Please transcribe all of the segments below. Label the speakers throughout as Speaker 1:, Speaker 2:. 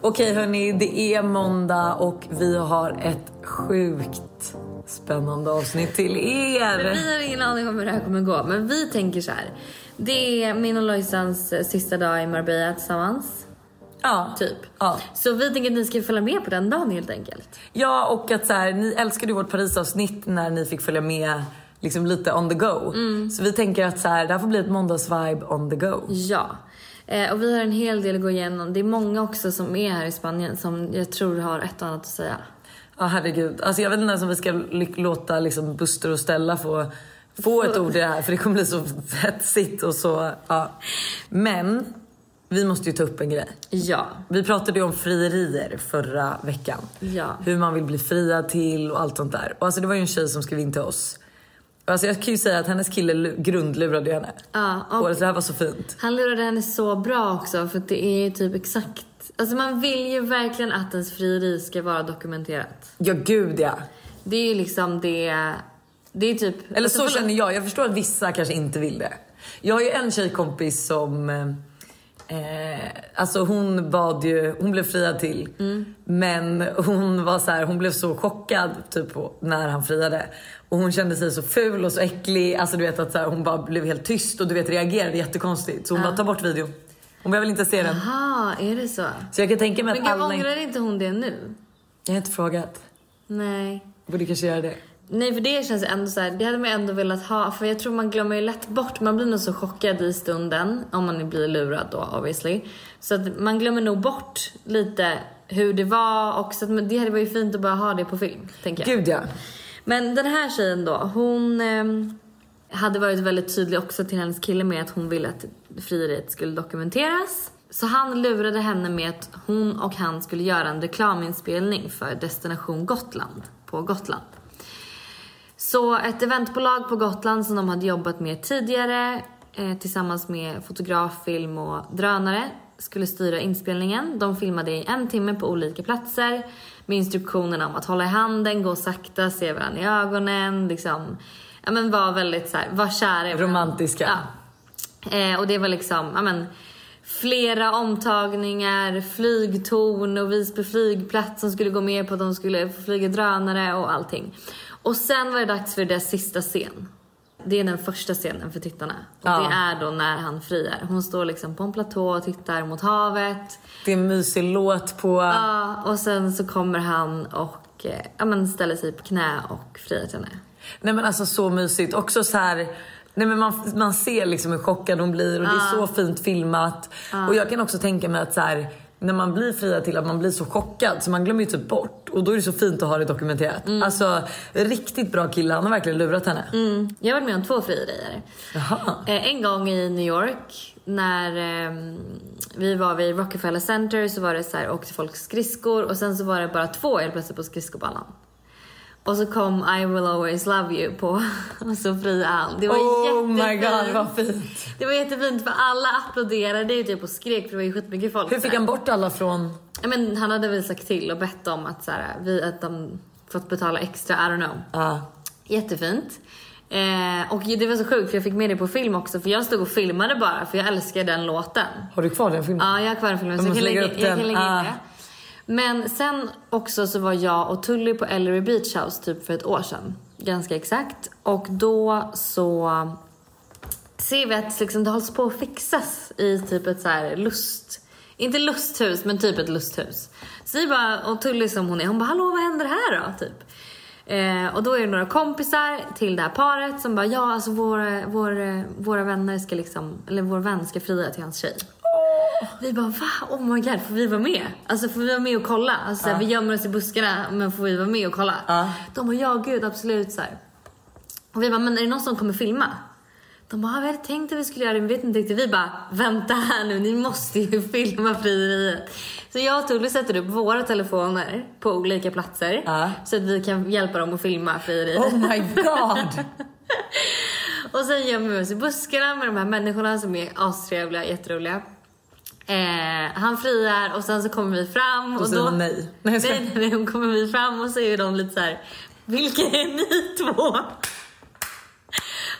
Speaker 1: Okej hörni, det är måndag och vi har ett sjukt spännande avsnitt till er.
Speaker 2: Vi har ingen aning om hur det här kommer gå, men vi tänker så här. Det är min och Lojsans eh, sista dag i Marbella tillsammans,
Speaker 1: Ja,
Speaker 2: typ.
Speaker 1: Ja.
Speaker 2: Så vi tänker att ni ska följa med på den dagen helt enkelt.
Speaker 1: ja och att så här, ni älskade ju vårt Parisavsnitt när ni fick följa med liksom lite on the go. Så vi tänker att så här, det här får bli ett måndagsvibe on the go.
Speaker 2: Ja. Eh, och vi har en hel del att gå igenom. Det är många också som är här i Spanien som jag tror har ett och annat att säga.
Speaker 1: Ja herregud, alltså jag vet inte ens om vi ska ly- låta liksom Buster och Stella få, få ett ord i det här för det kommer bli så hetsigt och så, ja. Men vi måste ju ta upp en grej.
Speaker 2: Ja.
Speaker 1: Vi pratade ju om frierier förra veckan.
Speaker 2: Ja.
Speaker 1: Hur man vill bli friad till och allt sånt där. Och alltså det var ju en tjej som skrev in till oss. Och Alltså jag kan ju säga att hennes kille lu- grundlurade ju henne.
Speaker 2: Ja, och-
Speaker 1: och alltså det här var så fint.
Speaker 2: Han lurade henne så bra också för att det är ju typ exakt... Alltså man vill ju verkligen att ens frieri ska vara dokumenterat.
Speaker 1: Ja gud ja.
Speaker 2: Det är ju liksom det... Det är typ...
Speaker 1: Eller
Speaker 2: alltså,
Speaker 1: så
Speaker 2: förlåt.
Speaker 1: känner jag. Jag förstår att vissa kanske inte vill det. Jag har ju en tjejkompis som... eh, Eh, alltså hon bad ju... Hon blev friad till.
Speaker 2: Mm.
Speaker 1: Men hon var så här, hon blev så chockad typ, på- när han friade. Och hon kände sig så ful och så äcklig. Alltså du vet att så här, hon bara blev helt tyst och du vet reagerade jättekonstigt. Så hon bara, ta bort videon. Hon behöver inte se den.
Speaker 2: Jaha, är det så?
Speaker 1: Så jag kan tänka mig
Speaker 2: Men
Speaker 1: att
Speaker 2: gud,
Speaker 1: alla...
Speaker 2: ångrar inte hon det nu?
Speaker 1: Jag har inte frågat.
Speaker 2: Nej.
Speaker 1: Borde kanske göra det.
Speaker 2: Nej för det känns ändå så här, det hade man ändå velat ha för jag tror man glömmer ju lätt bort, man blir nog så chockad i stunden om man blir lurad då obviously. Så att man glömmer nog bort lite hur det var och så att, men det hade varit fint att bara ha det på film tänker jag.
Speaker 1: Gud ja.
Speaker 2: Men den här tjejen då, hon ehm, hade varit väldigt tydlig också till hennes kille med att hon ville att frieriet skulle dokumenteras. Så han lurade henne med att hon och han skulle göra en reklaminspelning för Destination Gotland på Gotland. Så ett eventbolag på Gotland som de hade jobbat med tidigare eh, tillsammans med fotograf, film och drönare skulle styra inspelningen. De filmade i en timme på olika platser med instruktionerna om att hålla i handen, gå sakta, se varandra i ögonen, liksom. Ja men var väldigt så här, var kära i varandra.
Speaker 1: Romantiska.
Speaker 2: Ja. Eh, och det var liksom, ja men flera omtagningar, flygtorn och Visby flygplats som skulle gå med på att de skulle få flyga drönare och allting. Och sen var det dags för deras sista scen. Det är den första scenen för tittarna. Och
Speaker 1: Ja.
Speaker 2: det är då när han friar. Hon står liksom på en platå och tittar mot havet.
Speaker 1: Det är en mysig låt på...
Speaker 2: Ja, och sen så kommer han och eh, ja, men ställer sig på knä och friar till henne.
Speaker 1: Nej men alltså så mysigt. Också så här, nej men man, man ser liksom hur chockad hon blir och det är så fint filmat. Och jag kan också tänka mig att så här, när man blir fria till att man blir så chockad så man glömmer ju typ bort. Och då är det så fint att ha det dokumenterat. Alltså riktigt bra kille, han har verkligen lurat henne.
Speaker 2: Mm. Jag har varit med om två frierier.
Speaker 1: Jaha.
Speaker 2: Eh, En gång i New York när eh, vi var vid Rockefeller Center så var det så här, åkte folk skridskor och sen så var det bara två helt plötsligt på skridskobanan. Och så kom I will always love you på och så fria han. Det var
Speaker 1: Oh my
Speaker 2: jättefint.
Speaker 1: god vad fint.
Speaker 2: Det var jättefint för alla applåderade ju typ och skrek för det var ju skitmycket folk.
Speaker 1: Hur fick han bort alla från...
Speaker 2: Ja, men han hade väl sagt till och bett om att, så här, vi, att de fått betala extra, I don't know.
Speaker 1: Ja.
Speaker 2: Jättefint. Eh, och det var så sjukt för jag fick med det på film också för jag stod och filmade bara för jag älskar den låten.
Speaker 1: har du kvar den filmen?
Speaker 2: Ja, jag har kvar den filmen så
Speaker 1: Jag
Speaker 2: jag kan
Speaker 1: måste
Speaker 2: lägga,
Speaker 1: lägga upp
Speaker 2: jag kan
Speaker 1: den.
Speaker 2: lägga in
Speaker 1: Ah.
Speaker 2: det. Men sen också så var jag och Tully på Ellery Beach House typ för ett år sedan. Ganska exakt. Och då så ser vi att liksom det hålls på att fixas i typ ett så här lust... Inte lusthus, men typ ett lusthus. Så vi bara, och Tully som hon är, hon bara “Hallå, vad händer här då?” typ. Eh, och då är det några kompisar till det här paret som bara “Ja, alltså våra, våra, våra vänner ska liksom, eller vår vän ska fria till hans tjej”. Vi bara “Va? Oh my god, får vi vara med?” Alltså får vi vara med och kolla? Alltså, så här, Vi gömmer oss i buskarna, men får vi vara med och kolla?
Speaker 1: Ja.
Speaker 2: De bara “Ja, gud, absolut” så här. Och vi bara, men är det någon som kommer filma? De bara, "Ah, vi hade tänkt att vi skulle göra det men vet inte riktigt. Vi bara, vänta här nu, ni måste ju filma frieriet. Så jag och Tully sätter upp våra telefoner på olika platser.
Speaker 1: Ja.
Speaker 2: Så att vi kan hjälpa dem att filma frieriet.
Speaker 1: Oh my god.
Speaker 2: Och sen gömmer vi oss i buskarna med de här människorna som är astrevliga, jätteroliga. Eh, han friar och sen så kommer vi fram. Och,
Speaker 1: säger
Speaker 2: då,
Speaker 1: hon nej. Nej, jag
Speaker 2: nej,
Speaker 1: skojar.
Speaker 2: nej, nej, hon kommer vi fram och så är de lite så här. Vilka är ni två?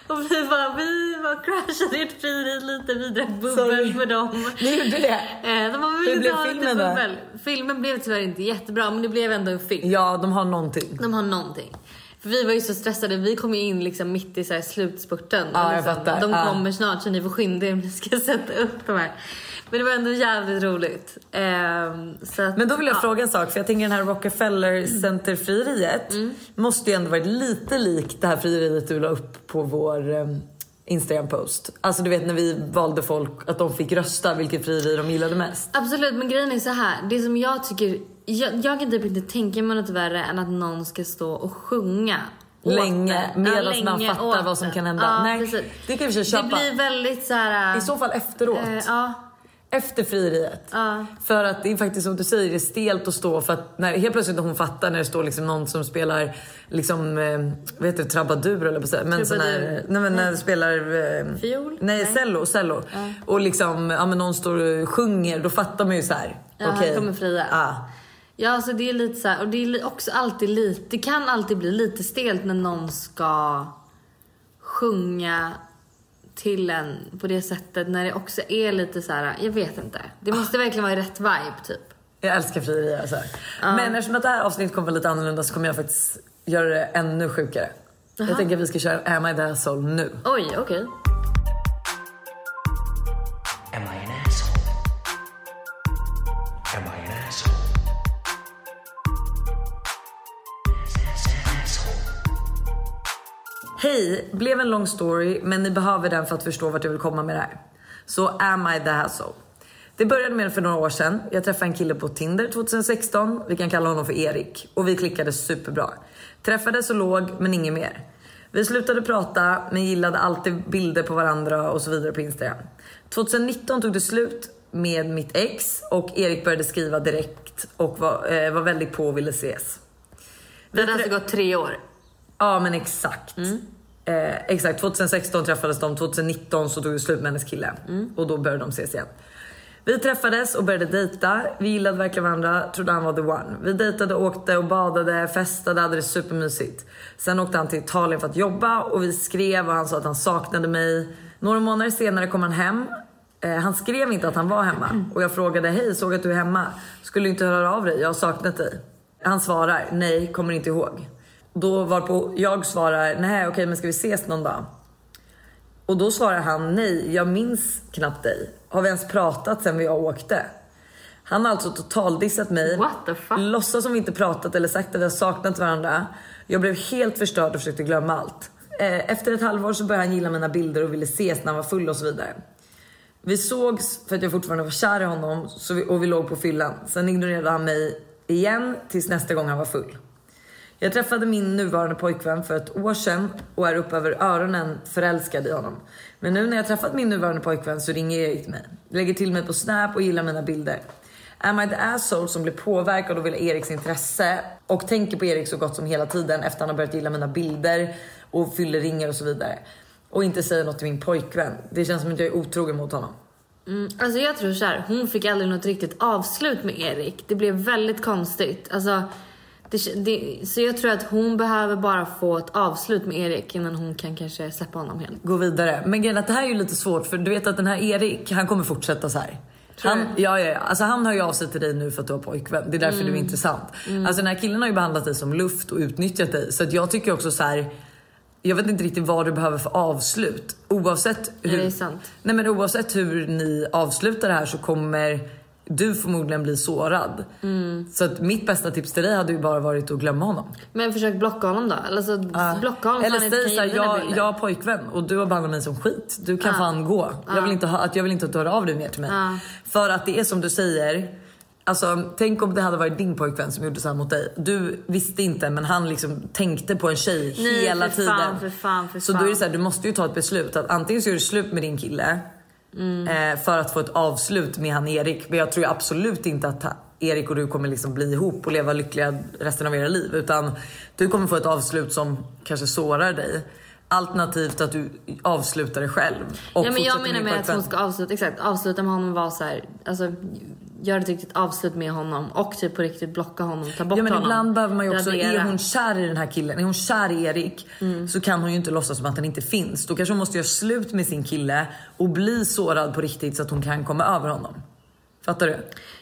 Speaker 2: Och vi bara, vi var crashade ert frieri lite, vi drack bubbel
Speaker 1: Sorry.
Speaker 2: med dem.
Speaker 1: Ni gjorde det?
Speaker 2: Eh, De bara, vi
Speaker 1: Hur
Speaker 2: vill
Speaker 1: blev
Speaker 2: inte ha lite
Speaker 1: filmen då?
Speaker 2: bubbel. Filmen blev tyvärr inte jättebra men det blev ändå en film.
Speaker 1: Ja, de har någonting.
Speaker 2: De har någonting. För vi var ju så stressade, vi kom ju in liksom mitt i så här slutspurten.
Speaker 1: Ja, jag
Speaker 2: liksom.
Speaker 1: fattar.
Speaker 2: De
Speaker 1: Ja.
Speaker 2: kommer snart så ni får skynda er om ni ska sätta upp de här. Men det var ändå jävligt roligt. Ehm, så att,
Speaker 1: Men då vill jag
Speaker 2: ja. Mm.
Speaker 1: fråga en sak, för jag tänker den här Rockefeller Center-frieriet måste ju ändå varit lite likt det här frieriet du la upp på vår eh, Instagram-post. Alltså du vet när vi valde folk, att de fick rösta vilket frieri de gillade mest.
Speaker 2: Absolut, men grejen är så här. Det som jag tycker... Jag, jag kan typ inte tänka mig något värre än att någon ska stå och sjunga. åt
Speaker 1: Länge,
Speaker 2: en.
Speaker 1: medan
Speaker 2: länge
Speaker 1: man fattar
Speaker 2: åt
Speaker 1: vad som
Speaker 2: en.
Speaker 1: kan hända.
Speaker 2: Ja,
Speaker 1: Nej,
Speaker 2: precis.
Speaker 1: det kan vi försöka
Speaker 2: Det
Speaker 1: köpa.
Speaker 2: blir väldigt så här...
Speaker 1: I så fall efteråt.
Speaker 2: eh, ja,
Speaker 1: Efter frieriet.
Speaker 2: Ja.
Speaker 1: För att det är faktiskt som du säger, det är stelt att stå för att när, helt plötsligt när hon fattar när det står liksom någon som spelar liksom, eh, vad heter det, trabadur eller på att säga, men sån här,
Speaker 2: Trubadur.
Speaker 1: nej men när det spelar eh,
Speaker 2: Fiol?
Speaker 1: Nej,
Speaker 2: Nej.
Speaker 1: cello, cello. Och liksom, ja men någon står och sjunger, då fattar man ju så här.
Speaker 2: Ja, han
Speaker 1: okej.
Speaker 2: kommer fria.
Speaker 1: Ja.
Speaker 2: ja, så det är lite så här... Och det är li- också alltid lite... Det kan alltid bli lite stelt när någon ska sjunga till en på det sättet. När det också är lite så här... Jag vet inte. Det måste verkligen vara rätt vibe, typ.
Speaker 1: Jag älskar frierier alltså. Men eftersom att det här avsnittet kommer vara lite annorlunda så kommer jag faktiskt göra det ännu sjukare. Jag tänker att vi ska köra Am I the asshole nu.
Speaker 2: Oj, okej.
Speaker 3: Am I an asshole? Am I an asshole?
Speaker 1: Hej, blev en lång story men ni behöver den för att förstå vart jag vill komma med det här. Så am I the hassle? Det började med för några år sedan. Jag träffade en kille på Tinder 2016. Vi kan kalla honom för Erik. Och vi klickade superbra. Träffades och låg, men inget mer. Vi slutade prata, men gillade alltid bilder på varandra och så vidare på Instagram. 2019 tog det slut med mitt ex och Erik började skriva direkt och var, eh, var väldigt på och ville ses.
Speaker 2: Det hade alltså gått tre år.
Speaker 1: Ja men exakt. Eh, exakt, 2016 träffades de, 2019 så tog det slut med hennes kille. Och då började de ses igen. Vi träffades och började dejta. Vi gillade verkligen varandra, trodde han var the one. Vi dejtade, åkte och badade, festade, hade det supermysigt. Sen åkte han till Italien för att jobba och vi skrev och han sa att han saknade mig. Några månader senare kom han hem. Eh, han skrev inte att han var hemma och jag frågade hej, såg att du är hemma. Skulle inte höra av dig, jag har saknat dig. Han svarar nej, kommer inte ihåg. Då varpå jag svarar nej, okej, men ska vi ses någon dag? Och då svarar han nej, jag minns knappt dig. Har vi ens pratat sen vi åkte? Han har alltså totaldissat mig.
Speaker 2: What the fuck?
Speaker 1: Låtsas som vi inte pratat eller sagt att vi har saknat varandra. Jag blev helt förstörd och försökte glömma allt. Eh, Efter ett halvår så började han gilla mina bilder och ville ses när han var full och så vidare. Vi sågs för att jag fortfarande var kär i honom så vi, och vi låg på fyllan. Sen ignorerade han mig igen tills nästa gång han var full. Jag träffade min nuvarande pojkvän för ett år sedan och är upp över öronen förälskad i honom. Men nu när jag träffat min nuvarande pojkvän så ringer Erik mig. Lägger till mig på Snap och gillar mina bilder. Am I the asshole som blir påverkad av Eriks intresse och tänker på Erik så gott som hela tiden efter han har börjat gilla mina bilder och fyller ringar och så vidare. Och inte säger något till min pojkvän. Det känns som att jag är otrogen mot honom.
Speaker 2: Mm, alltså jag tror så här, hon fick aldrig något riktigt avslut med Erik. Det blev väldigt konstigt. Alltså, det, det, så jag tror att hon behöver bara få ett avslut med Erik innan hon kan kanske släppa honom helt.
Speaker 1: gå vidare. Men grejen är att det här är ju lite svårt för du vet att den här Erik, han kommer fortsätta så här.
Speaker 2: Tror
Speaker 1: Han,
Speaker 2: du? Mm.
Speaker 1: ja, ja, ja. Alltså, han hör ju av sig till dig nu för att du har pojkvän. Det är därför du är intressant. Alltså den här killen har ju behandlat dig som luft och utnyttjat dig. Så att jag tycker också så här. Jag vet inte riktigt vad du behöver för avslut. Oavsett hur,
Speaker 2: det är sant.
Speaker 1: Nej, men oavsett hur ni avslutar det här så kommer du förmodligen bli sårad.
Speaker 2: Mm.
Speaker 1: Så att mitt bästa tips till dig hade ju bara varit att glömma honom.
Speaker 2: Men försök blocka honom då. Alltså, blocka honom så
Speaker 1: Eller
Speaker 2: han inte
Speaker 1: säg
Speaker 2: kan
Speaker 1: såhär,
Speaker 2: gilla dina
Speaker 1: jag,
Speaker 2: bilder.
Speaker 1: jag har pojkvän och du har behandlat mig som skit. Du kan fan gå. Jag, vill inte ha, att jag vill inte att du hör av dig mer till mig.
Speaker 2: Ja.
Speaker 1: För att det är som du säger. Alltså, tänk om det hade varit din pojkvän som gjorde så här mot dig. Du visste inte men han liksom tänkte på en tjej
Speaker 2: Nej,
Speaker 1: hela
Speaker 2: för
Speaker 1: tiden.
Speaker 2: fan, för fan, för
Speaker 1: så
Speaker 2: fan.
Speaker 1: då är det så här, du måste ju ta ett beslut. Att antingen så gör du slut med din kille eh, för att få ett avslut med han Erik. Men jag tror ju absolut inte att han, Erik och du kommer liksom bli ihop och leva lyckliga resten av era liv. Utan du kommer få ett avslut som kanske sårar dig. Alternativt att du avslutar det själv. Och
Speaker 2: ja, men jag
Speaker 1: fortsätter
Speaker 2: menar
Speaker 1: din
Speaker 2: med att
Speaker 1: pojkvän.
Speaker 2: hon ska avsluta, exakt, avsluta med honom och vara så här, alltså, göra ett riktigt avslut med honom och typ på riktigt blocka honom, ta bort
Speaker 1: Ja men
Speaker 2: honom.
Speaker 1: ibland behöver man ju också,
Speaker 2: radera.
Speaker 1: är hon kär i den här killen, är hon kär i Erik så kan hon ju inte låtsas som att han inte finns. Då kanske hon måste göra slut med sin kille och bli sårad på riktigt så att hon kan komma över honom. Fattar du?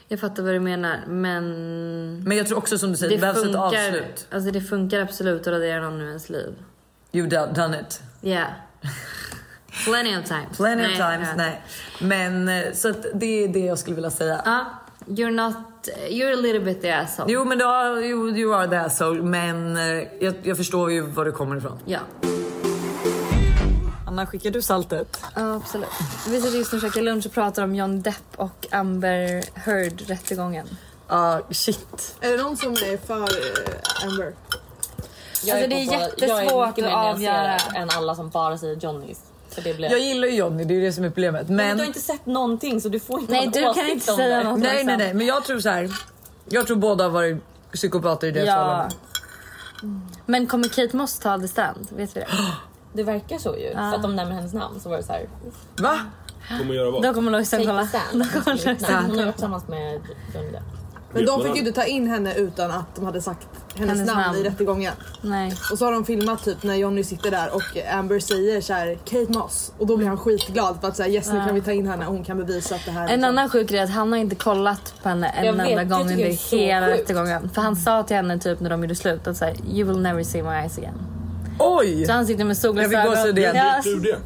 Speaker 2: Jag fattar vad du menar men...
Speaker 1: Men jag tror också som du säger, det, behövs ett avslut.
Speaker 2: Alltså det funkar absolut att radera någon ur ens liv.
Speaker 1: You've done- done it.
Speaker 2: Yeah. Plenty of times.
Speaker 1: Plenty
Speaker 2: Nej,
Speaker 1: of times,
Speaker 2: ja.
Speaker 1: nej. Men eh, så att det är det jag skulle vilja säga.
Speaker 2: Ja, you're not... You're a little bit the asshole.
Speaker 1: Jo men du har, you, you are the asshole men eh, jag, jag förstår ju var du kommer ifrån.
Speaker 2: Ja.
Speaker 1: Anna skickar du saltet?
Speaker 2: Ja, absolut. Vi sitter just nu och käkar lunch och pratar om John Depp och Amber Heard-rättegången.
Speaker 1: Ja shit.
Speaker 4: Är det någon som är för eh, Amber?
Speaker 2: Alltså, det är jättesvårt att avgöra.
Speaker 5: än alla som bara säger Johnnys. För det blir...
Speaker 1: Jag gillar ju Johnny det är ju det som är problemet.
Speaker 5: Men
Speaker 1: Men...
Speaker 5: du har inte sett någonting så du får inte
Speaker 2: Nej,
Speaker 5: ha en
Speaker 2: du kan
Speaker 5: åsikt
Speaker 2: inte
Speaker 5: om
Speaker 2: säga
Speaker 5: det.
Speaker 2: något.
Speaker 1: Nej nej nej men jag tror så här. Jag tror båda har varit psykopater i deras
Speaker 2: Ja. Mm.
Speaker 1: förhållande.
Speaker 2: Men kommer Kate Moss ta the stand? Vet vi det?
Speaker 5: Det verkar så ju. För att de nämner hennes namn så var det så här.
Speaker 1: Va?
Speaker 6: Kommer göra vad?
Speaker 2: Då kommer Lojsan
Speaker 5: Take a
Speaker 2: kolla.
Speaker 5: stand. Nej, Hon har ju varit tillsammans med Johnny Depp.
Speaker 4: Men
Speaker 6: Just
Speaker 4: de fick
Speaker 6: det.
Speaker 4: ju inte ta in henne utan att de hade sagt hennes,
Speaker 2: Hennes
Speaker 4: namn,
Speaker 2: namn.
Speaker 4: i rättegången.
Speaker 2: Nej.
Speaker 4: Och så har de filmat typ när Johnny sitter där och Amber säger så här Kate Moss och då blir han skitglad för att säga yes nu kan vi ta in henne och hon kan bevisa att det här
Speaker 2: En annan sjuk grej är att han har inte kollat på henne en
Speaker 5: Jag vet,
Speaker 2: enda
Speaker 5: det
Speaker 2: gång
Speaker 5: tycker jag är
Speaker 2: under
Speaker 5: så
Speaker 2: hela
Speaker 5: sjukt.
Speaker 2: rättegången. För han sa till henne typ när de gjorde slut att så här, you will never see my eyes again.
Speaker 1: Oj!
Speaker 2: Så han sitter
Speaker 1: Jag
Speaker 2: med
Speaker 1: fick
Speaker 2: solglasögon.
Speaker 1: gåshud igen.
Speaker 2: Ja,
Speaker 6: Vet du det?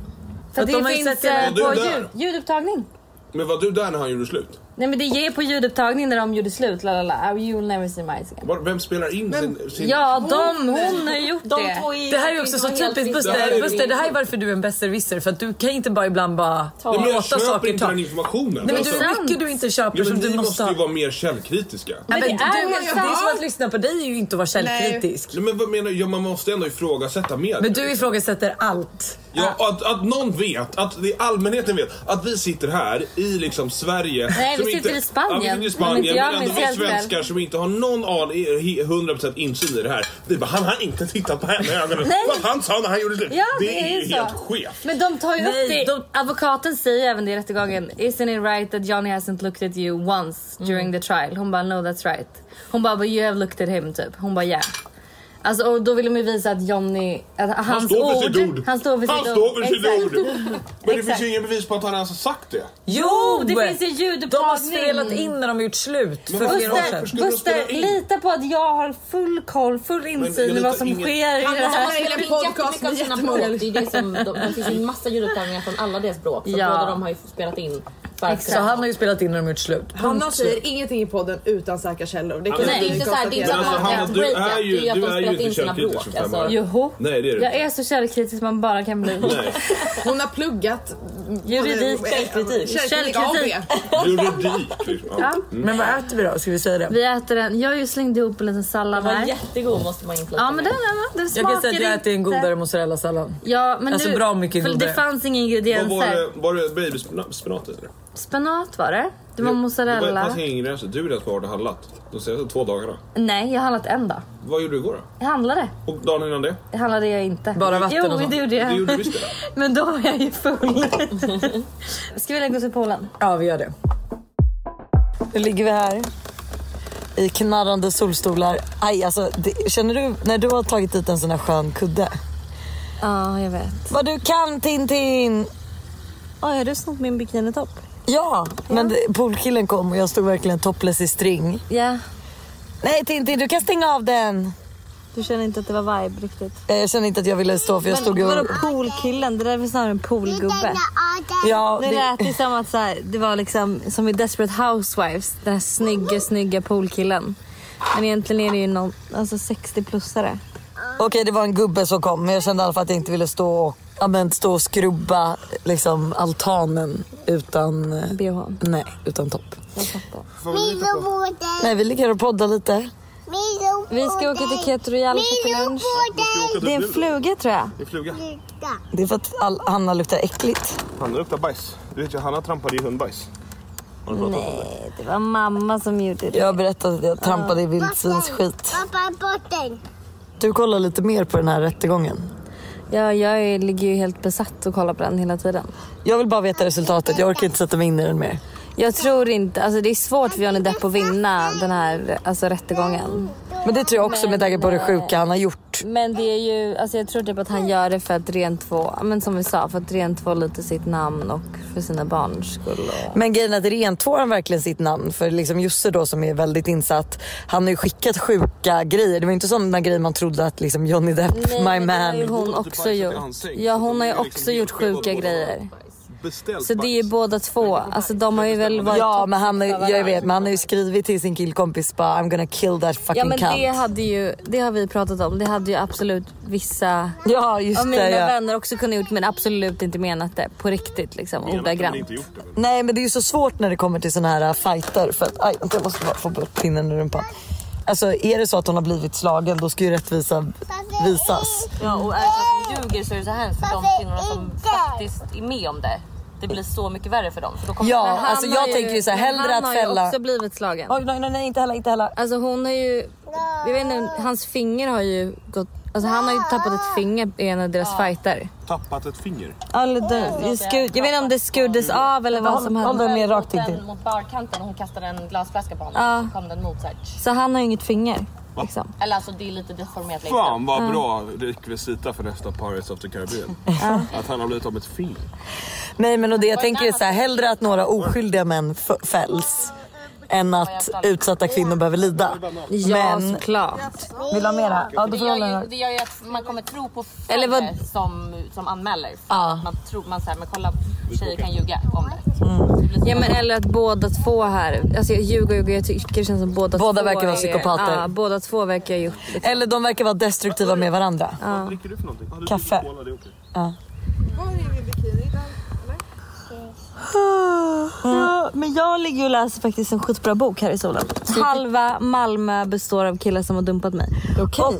Speaker 2: för
Speaker 1: Att
Speaker 2: det
Speaker 1: de har ju
Speaker 2: finns
Speaker 1: sett hela-
Speaker 2: eh,
Speaker 6: Och du
Speaker 2: på
Speaker 6: där.
Speaker 2: ljud, ljudupptagning.
Speaker 6: Men var du där när han gjorde slut?
Speaker 2: Nej men det är på ljudupptagning när de gjorde slut. La, la, la. You will never see my eyes again.
Speaker 6: Var, vem spelar in sin... sin...
Speaker 2: Ja, de, hon har gjort
Speaker 5: De
Speaker 2: det.
Speaker 5: två är
Speaker 1: Det här är ju också så typiskt
Speaker 6: Det här
Speaker 1: Buster.
Speaker 6: är-
Speaker 1: Buster, det här är varför du är en besserwisser för att du kan inte bara ibland bara
Speaker 6: Nej, men jag
Speaker 1: låta
Speaker 6: köper
Speaker 1: saker
Speaker 6: inte
Speaker 1: ta.
Speaker 6: den informationen.
Speaker 1: Nej men
Speaker 6: Alltså,
Speaker 1: du,
Speaker 2: sant.
Speaker 1: mycket du inte köper
Speaker 6: ja,
Speaker 1: som
Speaker 6: men
Speaker 1: du
Speaker 6: ni måste
Speaker 1: måste
Speaker 6: ju
Speaker 1: ha.
Speaker 6: vara mer källkritiska.
Speaker 1: Nej, men
Speaker 2: Men det är
Speaker 1: du,
Speaker 2: ju
Speaker 1: det är
Speaker 2: sant.
Speaker 1: som att lyssna på dig är ju inte att vara källkritisk.
Speaker 6: Nej, Men vad menar du? Ja, man måste ändå ifrågasätta mer.
Speaker 1: Men du ifrågasätter allt.
Speaker 6: Ja, att, att någon vet, att det, allmänheten vet, att vi sitter här i liksom Sverige.
Speaker 2: Nej, vi
Speaker 6: som
Speaker 2: sitter i Spanien.
Speaker 6: Ja, vi sitter i
Speaker 2: Men inte
Speaker 6: Spanien,
Speaker 2: jag
Speaker 6: men ändå
Speaker 2: minns
Speaker 6: vi
Speaker 2: helt väl.
Speaker 6: svenskar som inte har någon an- he- 100% insyn i det här. Vi bara, han har inte tittat på henne i ögonen.
Speaker 2: Nej.
Speaker 6: Vad han sa när han gjorde slut.
Speaker 2: Ja,
Speaker 6: det,
Speaker 2: det är
Speaker 6: är
Speaker 2: ju
Speaker 6: ju helt
Speaker 2: så.
Speaker 6: skevt.
Speaker 2: Men de tar ju
Speaker 1: Nej,
Speaker 2: upp det.
Speaker 1: de-
Speaker 2: Advokaten säger även det i rättegången. Isn't it right that Johnny hasn't looked at you once during the trial? Hon bara no that's right. Hon bara but you have looked at him typ. Hon bara yeah. Alltså och då vill de ju visa att Johnny, att hans
Speaker 6: Han står för
Speaker 2: ord,
Speaker 6: sitt ord.
Speaker 2: Han står för
Speaker 6: Han
Speaker 2: sitt
Speaker 6: står
Speaker 2: ord.
Speaker 6: för sitt
Speaker 2: Exakt.
Speaker 6: ord. Men det
Speaker 2: Exakt. Oh,
Speaker 6: finns ju inga bevis på att han ens har sagt det.
Speaker 1: Jo!
Speaker 2: det finns ju
Speaker 1: Oh, De har
Speaker 2: ljudupptagning.
Speaker 1: spelat in när de har gjort slut för
Speaker 6: Men vad-
Speaker 1: flera år
Speaker 6: varför
Speaker 1: sedan.
Speaker 6: skulle de spela
Speaker 2: Buster,
Speaker 6: in?
Speaker 2: lita på att jag har full koll, full insyn i
Speaker 6: litar
Speaker 2: vad som
Speaker 6: ingen-
Speaker 2: sker i det här.
Speaker 4: spelar in en podcast med jättemånga
Speaker 5: Det, är det, som, de, det finns ju en massa ljudupptagningar från alla deras bråk. Så
Speaker 2: Ja.
Speaker 5: båda de har ju spelat in. bara-
Speaker 2: Exakt.
Speaker 1: Så han har ju spelat in när de har gjort slut.
Speaker 4: Hanna säger ingenting i podden utan säkra källor. Det kan
Speaker 6: Nej,
Speaker 4: vi
Speaker 5: inte så här, det är inte
Speaker 6: Men
Speaker 4: konstatera.
Speaker 6: alltså,
Speaker 5: Ja,
Speaker 6: Hanna,
Speaker 5: ett
Speaker 6: du är
Speaker 5: breakup,
Speaker 6: ju,
Speaker 5: det är ju att
Speaker 6: du
Speaker 5: de
Speaker 6: är ju
Speaker 5: spelat
Speaker 6: inte liksom,
Speaker 5: in sina
Speaker 6: källkritisk för
Speaker 5: bråk,
Speaker 6: fem
Speaker 5: alltså.
Speaker 6: öre.
Speaker 2: Joho.
Speaker 6: Nej, det är det
Speaker 2: Jag
Speaker 6: inte.
Speaker 2: är så källkritisk man bara kan bli.
Speaker 6: Nej,
Speaker 4: Hon har pluggat eh,
Speaker 2: Juridik.
Speaker 4: källkritik.
Speaker 2: Källkritik.
Speaker 4: Källkritik. AB.
Speaker 6: juridik liksom. Ja.
Speaker 1: Men vad äter vi då? Ska vi säga det?
Speaker 2: Vi äter en, jag har ju slängt ihop en liten sallad
Speaker 5: Den var
Speaker 2: här.
Speaker 5: jättegod måste man inflika
Speaker 2: Ja men den,
Speaker 5: med.
Speaker 2: den
Speaker 1: Jag
Speaker 2: smakar
Speaker 1: kan säga att jag äter en
Speaker 2: inte.
Speaker 1: godare mozzarellasallad.
Speaker 2: Ja, men
Speaker 1: Alltså,
Speaker 2: nu,
Speaker 1: bra mycket
Speaker 2: för
Speaker 1: godare.
Speaker 2: Det fanns inga
Speaker 6: Vad var
Speaker 2: ingredienser.
Speaker 6: det, var det babyspenat eller?
Speaker 2: Spenat var det. Det var
Speaker 6: Det var-
Speaker 2: mozzarella.
Speaker 6: fanns inga ingredienser. Du är den som har varit och handlat de senaste två dagarna.
Speaker 2: Nej, jag har handlat en dag.
Speaker 6: Vad gjorde du igår
Speaker 2: Jag handlade.
Speaker 6: då? Och dagen innan det?
Speaker 2: Det handlade jag inte.
Speaker 1: Bara vatten
Speaker 2: Jo,
Speaker 1: och sånt.
Speaker 2: det gjorde jag.
Speaker 6: Det gjorde du visst det.
Speaker 2: Men då var jag ju full. Ska vi lägga oss i poolen?
Speaker 1: Ja, vi gör det. Nu ligger vi här i knarrande solstolar. Aj, alltså, det, känner du när du har tagit dit en sån här skön kudde?
Speaker 2: Ja, jag vet.
Speaker 1: Vad du kan Tintin!
Speaker 2: Oj, har du snott min bikinitopp?
Speaker 1: Ja, men det- poolkillen kom och jag stod verkligen topless i string.
Speaker 2: Ja.
Speaker 1: Nej Tintin, du kan stänga av den!
Speaker 2: Du känner inte att det var vibe riktigt?
Speaker 1: Eh, Jag kände inte att jag ville stå för jag stod och...
Speaker 2: Vadå poolkillen? Det där är väl snarare en poolgubbe?
Speaker 1: Ja,
Speaker 2: Det
Speaker 1: det,
Speaker 2: lät ju som att så här, det var liksom som i Desperate Housewives, den här snygga, snygga poolkillen. Men egentligen är det ju någon, alltså 60-plussare.
Speaker 1: Okej, det var en gubbe som kom, men jag kände i alla fall att jag inte ville stå och, ja, men stå och skrubba liksom, altanen utan... eh,
Speaker 2: BH.
Speaker 1: Nej, utan topp.
Speaker 7: Milo Borden,
Speaker 1: Nej, vi ligger och poddar lite.
Speaker 7: Milo
Speaker 2: Vi ska åka till Keto Royal och käka
Speaker 7: Milo
Speaker 2: lunch.
Speaker 7: Borden,
Speaker 2: Det är en fluga tror jag.
Speaker 6: Det är fluga.
Speaker 1: Det är för att all, Hanna luktar äckligt.
Speaker 6: Hanna luktar bajs. Du vet ju Hanna trampade i hundbajs. Har du pratat om det?
Speaker 2: Nej, det var mamma som gjorde det.
Speaker 1: Jag har berättat att jag trampade i vildsvins skit.
Speaker 7: Pappa Borden,
Speaker 1: Du kollar lite mer på den här rättegången.
Speaker 2: Ja, jag är, ligger ju helt besatt och kollar på den hela tiden.
Speaker 1: Jag vill bara veta resultatet, jag orkar inte sätta mig in i den mer.
Speaker 2: Jag tror inte, alltså det är svårt för Johnny Depp att vinna den här alltså, rättegången.
Speaker 1: Men det tror jag också med tanke på det sjuka han har gjort.
Speaker 2: Men det är ju, alltså jag tror typ att han gör det för att rentvå, ja, men som vi sa, för att rentvå lite sitt namn och för sina barns skull. Och...
Speaker 1: Men grejen är att rentvår han verkligen sitt namn för liksom Josse då som är väldigt insatt. Han har ju skickat sjuka grejer. Det var inte sådana grejer man trodde att liksom Johnny Depp, my
Speaker 2: men det har ju
Speaker 1: man.
Speaker 2: hon
Speaker 6: Hon har inte
Speaker 2: också
Speaker 6: bajsat i
Speaker 2: gjort.
Speaker 6: ansiktet.
Speaker 2: Ja, hon har ju
Speaker 6: Det är liksom
Speaker 2: också
Speaker 6: helt
Speaker 2: gjort
Speaker 6: skillnad
Speaker 2: sjuka
Speaker 6: på-
Speaker 2: grejer.
Speaker 6: Beställt
Speaker 2: Så det är ju
Speaker 6: bajs.
Speaker 2: båda två. Alltså de har ju väl varit
Speaker 1: Ja men han, har- jag vet, men han har ju skrivit till sin killkompis bara I'm gonna kill that fucking
Speaker 2: Ja men
Speaker 1: cunt.
Speaker 2: det hade ju, det har vi pratat om. Det hade ju absolut vissa
Speaker 1: Ja just
Speaker 2: av mina
Speaker 1: det. Ja.
Speaker 2: vänner också kunnat gjort men absolut inte menat det på riktigt liksom
Speaker 6: Menar att de
Speaker 2: ordagrant.
Speaker 6: inte gjort det, men-
Speaker 1: Nej men det är ju så svårt när det kommer till såna här äh, fighter för att aj, vänta, jag måste bara få bort pinnen ur rumpan. Alltså är det så att hon har blivit slagen då ska ju rättvisa visas.
Speaker 2: Ja och är det så att de ljuger så är det så hemskt för de
Speaker 7: Varför
Speaker 2: kvinnorna som
Speaker 7: inte?
Speaker 2: faktiskt är med om det. Det blir så mycket värre för dem. För då kommer
Speaker 1: Ja,
Speaker 2: Men han
Speaker 1: alltså jag
Speaker 2: har
Speaker 1: tänker ju så här,
Speaker 2: men
Speaker 1: hellre
Speaker 2: han
Speaker 1: att
Speaker 2: har ju
Speaker 1: fälla-
Speaker 2: också blivit slagen.
Speaker 1: Oj, nej nej nej inte heller, inte heller.
Speaker 2: Alltså hon har ju, jag vet inte, hans finger har ju gått, alltså han har ju tappat ett finger i en av deras fighter.
Speaker 6: Tappat ett finger.
Speaker 1: All, det,
Speaker 2: Skur, jag vet inte om det skurdes av eller vad som
Speaker 1: håll
Speaker 2: hände.
Speaker 1: den mer rakt in
Speaker 5: Mot
Speaker 1: till.
Speaker 5: den- Mot barkanten och hon kastade en glasflaska på honom.
Speaker 2: Ja.
Speaker 5: Så kom den mot såhär.
Speaker 2: Så han har ju inget finger. Liksom.
Speaker 5: Eller alltså det är lite deformerat längst fram.
Speaker 6: Fan vad bra rekvisita för nästa Pirates of the Caribbean. att han har blivit av ett finger.
Speaker 1: Nej men och det jag tänker är så här, hellre att några oskyldiga män f- fälls än att utsatta kvinnor behöver lida.
Speaker 2: Ja
Speaker 1: Men
Speaker 2: såklart.
Speaker 1: vill du ha mer här? Ja, då
Speaker 5: Det
Speaker 1: får jag
Speaker 5: gör, ju,
Speaker 1: hålla
Speaker 5: det gör ju att man kommer tro på fler
Speaker 2: Eller vad-
Speaker 5: som, som anmäler. För
Speaker 1: Ja.
Speaker 5: att Man tror man såhär, men kolla tjejer kan ljuga om det. det blir så-
Speaker 2: Ja men eller att båda två här, alltså jag ljuger och ljuger, jag tycker det känns som båda,
Speaker 1: Båda
Speaker 2: två
Speaker 1: verkar vara
Speaker 2: är-
Speaker 1: psykopater.
Speaker 2: Ja, båda två verkar ha gjort liksom.
Speaker 1: Eller de verkar vara destruktiva med varandra.
Speaker 6: Vad dricker du för någonting? Ah, du dricker
Speaker 1: Kaffe.
Speaker 6: Cola, det är okej.
Speaker 2: Ja, men jag ligger och läser faktiskt en skitbra bok här i solen. Halva Malmö består av killar som har dumpat mig. Och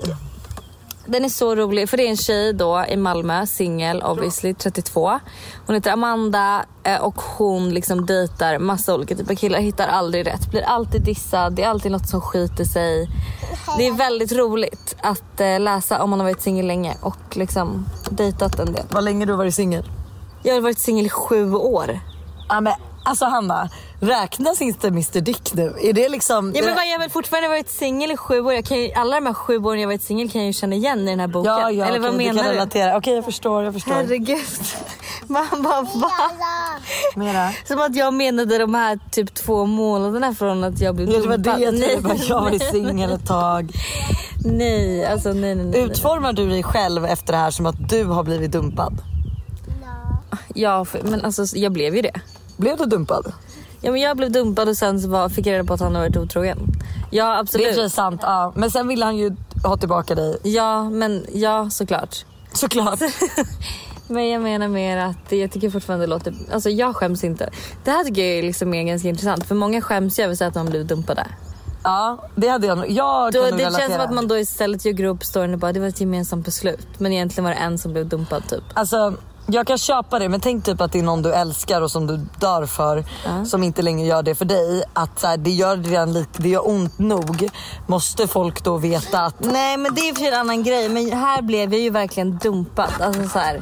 Speaker 2: Den är så rolig för det är en tjej då i Malmö, singel obviously, 32. Hon heter Amanda eh, och hon liksom dejtar massa olika typer av killar, hittar aldrig rätt, blir alltid dissad, det är alltid något som skiter sig. Det är väldigt roligt att eh, läsa om man har varit singel länge och liksom dejtat en del.
Speaker 1: Vad länge du har varit singel?
Speaker 2: Jag har varit singel i sju år.
Speaker 1: Ja, men, alltså Hanna, räknas inte Mr Dick nu? Är det liksom...
Speaker 2: Ja men vad, jag har väl fortfarande varit singel i sju år. Jag kan ju, alla de här sju åren jag varit singel kan jag ju känna igen i den här boken.
Speaker 1: ja, ja,
Speaker 2: Eller
Speaker 1: okej,
Speaker 2: vad
Speaker 1: du kan
Speaker 2: menar du?
Speaker 1: relatera. Okej jag förstår, jag förstår.
Speaker 2: Herregud. Man bara va?
Speaker 1: Mera.
Speaker 2: Som att jag menade de här typ två månaderna från att jag blev
Speaker 1: Ja, det var
Speaker 2: dumpad.
Speaker 1: det jag
Speaker 2: nej,
Speaker 1: trodde, bara, jag var singel ett tag.
Speaker 2: nej, alltså nej nej nej. nej.
Speaker 1: Utformar du dig själv efter det här som att du har blivit dumpad?
Speaker 2: Ja, för, men alltså jag blev ju det.
Speaker 1: Blev du dumpad?
Speaker 2: Ja, men jag blev dumpad och sen så var, fick jag reda på att han har varit otrogen. Ja
Speaker 1: Det är
Speaker 2: absolut.
Speaker 1: i och för sig sant, ja. men sen ville han ju ha tillbaka dig.
Speaker 2: Ja men ja såklart.
Speaker 1: Såklart.
Speaker 2: Men jag menar mer att jag tycker fortfarande det låter... Alltså jag skäms inte. Det här tycker jag är liksom är ganska intressant för många skäms ju över sig att de blivit dumpade.
Speaker 1: Ja, det hade jag nog. Jag
Speaker 2: Då,
Speaker 1: kan nog
Speaker 2: det
Speaker 1: relatera.
Speaker 2: känns som att man då istället ljuger upp storyn och bara det var ett gemensamt beslut. Men egentligen var det en som blev dumpad typ.
Speaker 1: Alltså, jag kan köpa det, men tänk typ att det är någon du älskar och som du dör för som inte längre gör det för dig. Att så här, det gör redan lite, det gör ont nog. Måste folk då veta att
Speaker 2: Nej men det är för en annan grej. Men här blev jag ju verkligen dumpad. Alltså så här.